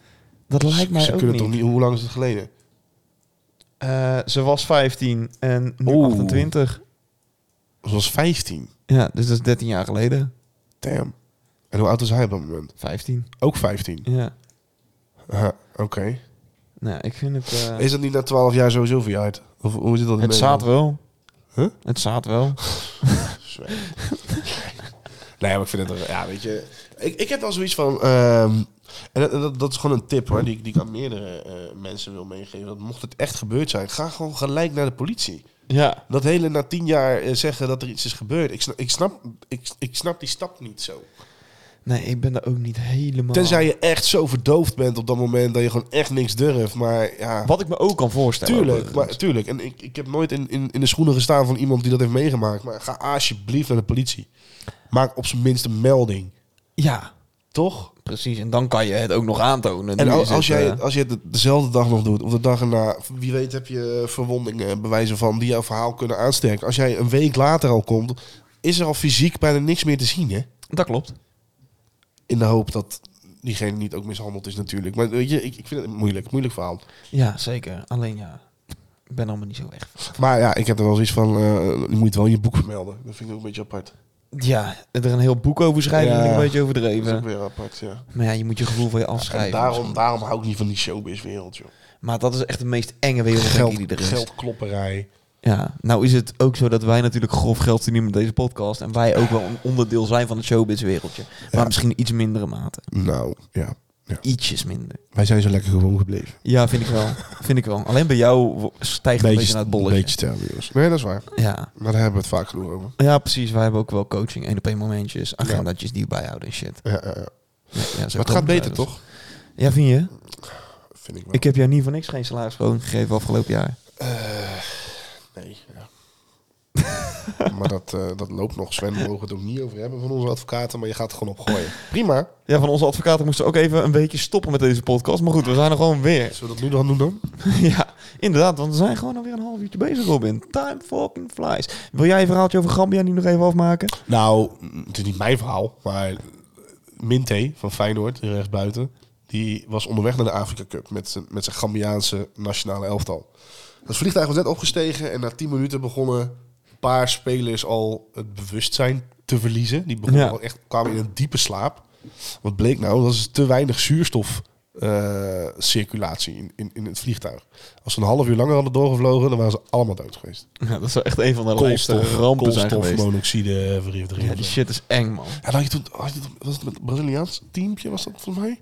Speaker 2: Dat lijkt mij
Speaker 3: Ze
Speaker 2: ook
Speaker 3: kunnen
Speaker 2: niet.
Speaker 3: toch niet... Hoe lang is het geleden?
Speaker 2: Eh, ze was 15 en nu
Speaker 3: Oeh.
Speaker 2: 28.
Speaker 3: Ze was 15.
Speaker 2: Ja, dus dat is 13 jaar geleden.
Speaker 3: Damn. En hoe oud is hij op dat moment?
Speaker 2: 15.
Speaker 3: Ook 15.
Speaker 2: Ja.
Speaker 3: Aha, oké.
Speaker 2: Nou, ik vind het... eh,
Speaker 3: Is dat niet na 12 jaar sowieso verjaard? Of hoe zit dat in
Speaker 2: het
Speaker 3: Nederland?
Speaker 2: zaad wel.
Speaker 3: Huh?
Speaker 2: Het zaad
Speaker 3: (laughs)
Speaker 2: wel.
Speaker 3: Sorry. (laughs) nee, maar ik vind het... er- Ja, weet je... Ik, ik heb wel zoiets van... ehm, en dat, dat, dat is gewoon een tip hoor, die, ik- die ik aan meerdere eh, mensen wil meegeven. Dat mocht het echt gebeurd zijn, ga gewoon gelijk naar de politie.
Speaker 2: Ja.
Speaker 3: Dat hele na tien jaar eh, zeggen dat er iets is gebeurd. Ik snap, ik snap, ik, ik snap die stap niet zo.
Speaker 2: Oh. Nee, ik ben daar ook niet helemaal...
Speaker 3: Tenzij je echt zo verdoofd bent op dat moment dat je gewoon echt niks durft. Maar ja,
Speaker 2: Wat ik me ook kan voorstellen.
Speaker 3: Tuurlijk,
Speaker 2: overigens.
Speaker 3: maar, tuurlijk. En ik, ik heb nooit in, in, in de schoenen gestaan van iemand die dat heeft meegemaakt. Maar ga alsjeblieft naar de politie. Maak op zijn minst een melding.
Speaker 2: Ja,
Speaker 3: Toch?
Speaker 2: precies. En dan kan je het ook nog aantonen.
Speaker 3: En
Speaker 2: Nu
Speaker 3: al-
Speaker 2: is
Speaker 3: als,
Speaker 2: het,
Speaker 3: jij,
Speaker 2: eh,
Speaker 3: als je het dezelfde dag nog doet, of de dag erna, wie weet heb je verwondingen, bewijzen van, die jouw verhaal kunnen aansterken. Als jij een week later al komt, is er al fysiek bijna niks meer te zien, hè?
Speaker 2: Dat klopt.
Speaker 3: In de hoop dat diegene niet ook mishandeld is natuurlijk. Maar weet je, ik, ik vind het moeilijk, moeilijk verhaal.
Speaker 2: Ja, zeker. Alleen ja, ik ben allemaal niet zo erg.
Speaker 3: Maar ja, ik heb er wel zoiets van, eh, je moet het wel in je boek vermelden. Dat vind ik ook een beetje apart.
Speaker 2: Ja, er een heel boek over schrijven
Speaker 3: Ja.
Speaker 2: vind ik een beetje
Speaker 3: Dat is ook
Speaker 2: overdreven.
Speaker 3: weer apart, ja.
Speaker 2: Maar ja, je moet je gevoel van je
Speaker 3: En
Speaker 2: afschrijven.
Speaker 3: daarom,
Speaker 2: misschien.
Speaker 3: daarom hou ik niet van die showbiz-wereld, joh.
Speaker 2: Maar dat is echt de meest enge wereld denk ik, die er is.
Speaker 3: geldklopperij.
Speaker 2: Ja, nou is het ook zo dat wij natuurlijk grof geld verdienen met deze podcast. En wij ook wel een onderdeel zijn van het showbiz-wereldje. Maar
Speaker 3: Ja.
Speaker 2: misschien iets mindere mate.
Speaker 3: Nou, ja.
Speaker 2: Ietsjes minder.
Speaker 3: Wij zijn zo lekker gewoon gebleven.
Speaker 2: Ja, vind ik wel. vind ik wel. Alleen bij jou wo- stijgt het een beetje naar het bolletje.
Speaker 3: beetje sterven, jongens. Nee, dat is waar.
Speaker 2: Ja.
Speaker 3: Maar daar hebben we het vaak genoeg over.
Speaker 2: ja, precies. Wij hebben ook wel coaching, één op één momentjes, agendatjes die we bijhouden en shit.
Speaker 3: Ja, ja, ja.
Speaker 2: Ja, zo
Speaker 3: Maar het
Speaker 2: komen
Speaker 3: gaat
Speaker 2: wij
Speaker 3: beter,
Speaker 2: dus.
Speaker 3: toch?
Speaker 2: Ja, vind je?
Speaker 3: Vind ik wel.
Speaker 2: Ik heb jou niet voor niks geen salarisverhoging gegeven afgelopen jaar.
Speaker 3: Eh, nee, ja. (laughs) maar dat, eh, dat loopt nog. Sven, we mogen het ook niet over hebben van onze advocaten, maar je gaat het gewoon opgooien. Prima.
Speaker 2: Ja, van onze advocaten moesten ook even een weekje stoppen met deze podcast. Maar goed, we zijn er gewoon weer. (laughs)
Speaker 3: Zullen we dat nu dan doen dan?
Speaker 2: ja, inderdaad, want we zijn gewoon alweer een half uurtje bezig, Robin. Time fucking flies. Wil jij een verhaaltje over Gambia nu nog even afmaken?
Speaker 3: Nou, mm, het is niet mijn verhaal, maar Minté van Feyenoord, hier rechtsbuiten, die was onderweg naar de Afrika Cup met zijn, met zijn Gambiaanse nationale elftal. Het vliegtuig was net opgestegen en na 10 minuten begonnen een paar spelers al het bewustzijn te verliezen. Die begonnen
Speaker 2: Ja.
Speaker 3: al echt, kwamen in een diepe slaap. Wat bleek nou? Dat is te weinig zuurstof. eh, circulatie in, in, in het vliegtuig. Als ze een half uur langer hadden doorgevlogen, dan waren ze allemaal dood geweest.
Speaker 2: Ja, dat is wel echt een van de
Speaker 3: Koolstof, koolstof,
Speaker 2: eh, geweest.
Speaker 3: monoxide, vergiftiging.
Speaker 2: Ja, die shit is eng, man.
Speaker 3: En had je toen, had je toen- was het met een Braziliaans teampje, was dat volgens mij?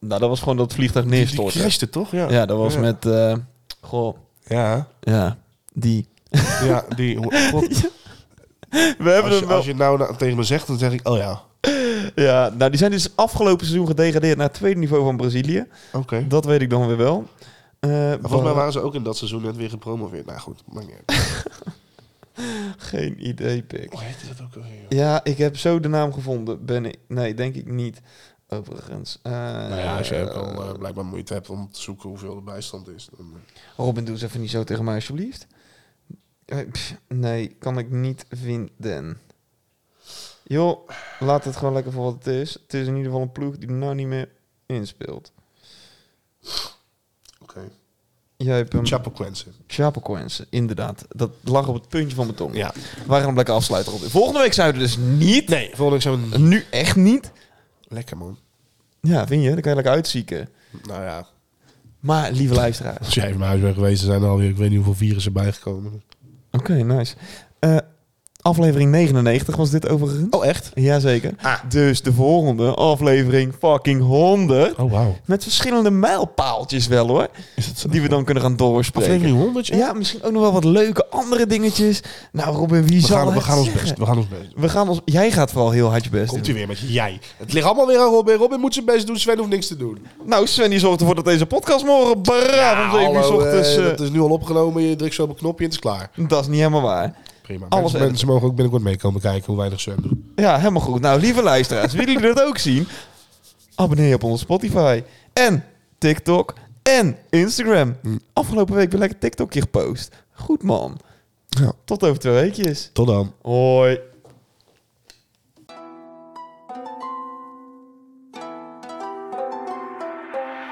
Speaker 2: Nou, dat was gewoon dat vliegtuig
Speaker 3: Die, die
Speaker 2: neerstorten.
Speaker 3: crashte toch? Ja,
Speaker 2: Ja, dat was
Speaker 3: ja.
Speaker 2: met... eh, goh,
Speaker 3: Ja,
Speaker 2: ja, die...
Speaker 3: ja die... (laughs) hoe- God,
Speaker 2: We hebben
Speaker 3: als, je, als je het nou na- tegen me zegt, dan zeg ik, oh ja,
Speaker 2: Ja, nou, die zijn dus afgelopen seizoen gedegradeerd naar het tweede niveau van Brazilië.
Speaker 3: oké. Maar
Speaker 2: Dat weet ik dan weer wel. Eh,
Speaker 3: Volgens mij
Speaker 2: wa-
Speaker 3: waren ze ook in dat seizoen net weer gepromoveerd. Nou goed, maakt niet (laughs) uit.
Speaker 2: Geen idee, pik.
Speaker 3: Hoe heette dat ook alweer? joh?
Speaker 2: Ja, ik heb zo de naam gevonden. Ben ik... Nee, denk ik niet. overigens. Eh,
Speaker 3: Nou ja, als jij ook al eh, blijkbaar moeite hebt om te zoeken hoeveel de bijstand is. Dan, eh.
Speaker 2: Robin, doe eens even niet zo tegen mij, alsjeblieft. Eh, pff, Nee, kan ik niet vinden. Joh, laat het gewoon lekker voor wat het is. Het is in ieder geval een ploeg die nou niet meer inspeelt.
Speaker 3: Oké.
Speaker 2: Jij hebt hem...
Speaker 3: Chapo Quensen.
Speaker 2: Chapecoense, inderdaad. Dat lag op het puntje van mijn tong.
Speaker 3: Ja.
Speaker 2: We gaan hem lekker afsluiten, Robin. Volgende week zijn we er dus niet. Nee.
Speaker 3: Volgende week zijn we...
Speaker 2: Nu echt niet.
Speaker 3: Lekker, man.
Speaker 2: Ja, vind je? Dan kan je lekker uitzieken.
Speaker 3: Nou ja.
Speaker 2: Maar, lieve luisteraars.
Speaker 3: Als jij even naar huis bent geweest, dan zijn er alweer... Ik weet niet hoeveel virussen bijgekomen.
Speaker 2: Oké, nice. Eh, aflevering 99 was dit overigens.
Speaker 3: Oh, echt? Ah.
Speaker 2: Jazeker. Dus de volgende aflevering fucking 100.
Speaker 3: Oh, wauw.
Speaker 2: Met verschillende mijlpaaltjes wel hoor.
Speaker 3: Is dat zo?
Speaker 2: Die we dan kunnen gaan doorspreken.
Speaker 3: Aflevering 100, ja?
Speaker 2: Ja, misschien ook nog wel wat leuke andere dingetjes. Nou Robin, wie
Speaker 3: We
Speaker 2: zal
Speaker 3: gaan,
Speaker 2: het
Speaker 3: we gaan ons
Speaker 2: zeggen?
Speaker 3: best. We gaan ons best.
Speaker 2: We gaan ons... Jij gaat vooral heel hard je best
Speaker 3: Komt
Speaker 2: doen.
Speaker 3: hij weer met jij. Het ligt allemaal weer aan Robin. Robin moet zijn best doen. Sven hoeft niks te doen.
Speaker 2: Nou, Sven die zorgt ervoor dat deze podcast morgen braaf om 7 uur 's
Speaker 3: hallo, eh,
Speaker 2: ochtends... eh,
Speaker 3: dat is nu al opgenomen. Je drukt zo op een knopje en het is klaar.
Speaker 2: dat is niet helemaal waar.
Speaker 3: Prima.
Speaker 2: Alles
Speaker 3: mensen,
Speaker 2: edit.
Speaker 3: mensen mogen ook binnenkort meekomen kijken hoe weinig Sven doet.
Speaker 2: Ja, helemaal goed. Nou, lieve luisteraars, willen jullie dat ook zien? Abonneer je op onze Spotify en TikTok en Instagram. Afgelopen week weer lekker TikTokje gepost. Goed man.
Speaker 3: Ja.
Speaker 2: Tot over twee weekjes.
Speaker 3: Tot dan.
Speaker 2: Hoi.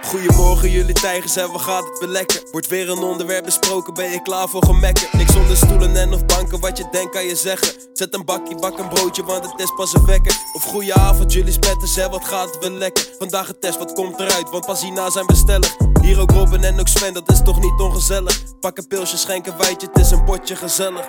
Speaker 1: Goedemorgen jullie tijgers en wat gaat het weer lekker? Wordt weer een onderwerp besproken, ben je klaar voor gemekken? Niks onder stoelen en of banken, wat je denkt kan je zeggen Zet een bakkie, bak een broodje, want het is pas een wekker Of goeie avond jullie spetters en wat gaat het weer lekker? Vandaag een test, wat komt eruit? Want pas hierna zijn we stellig Hier ook Robin en ook Sven, dat is toch niet ongezellig? Pak een pilsje, schenk een wijtje, het is een potje gezellig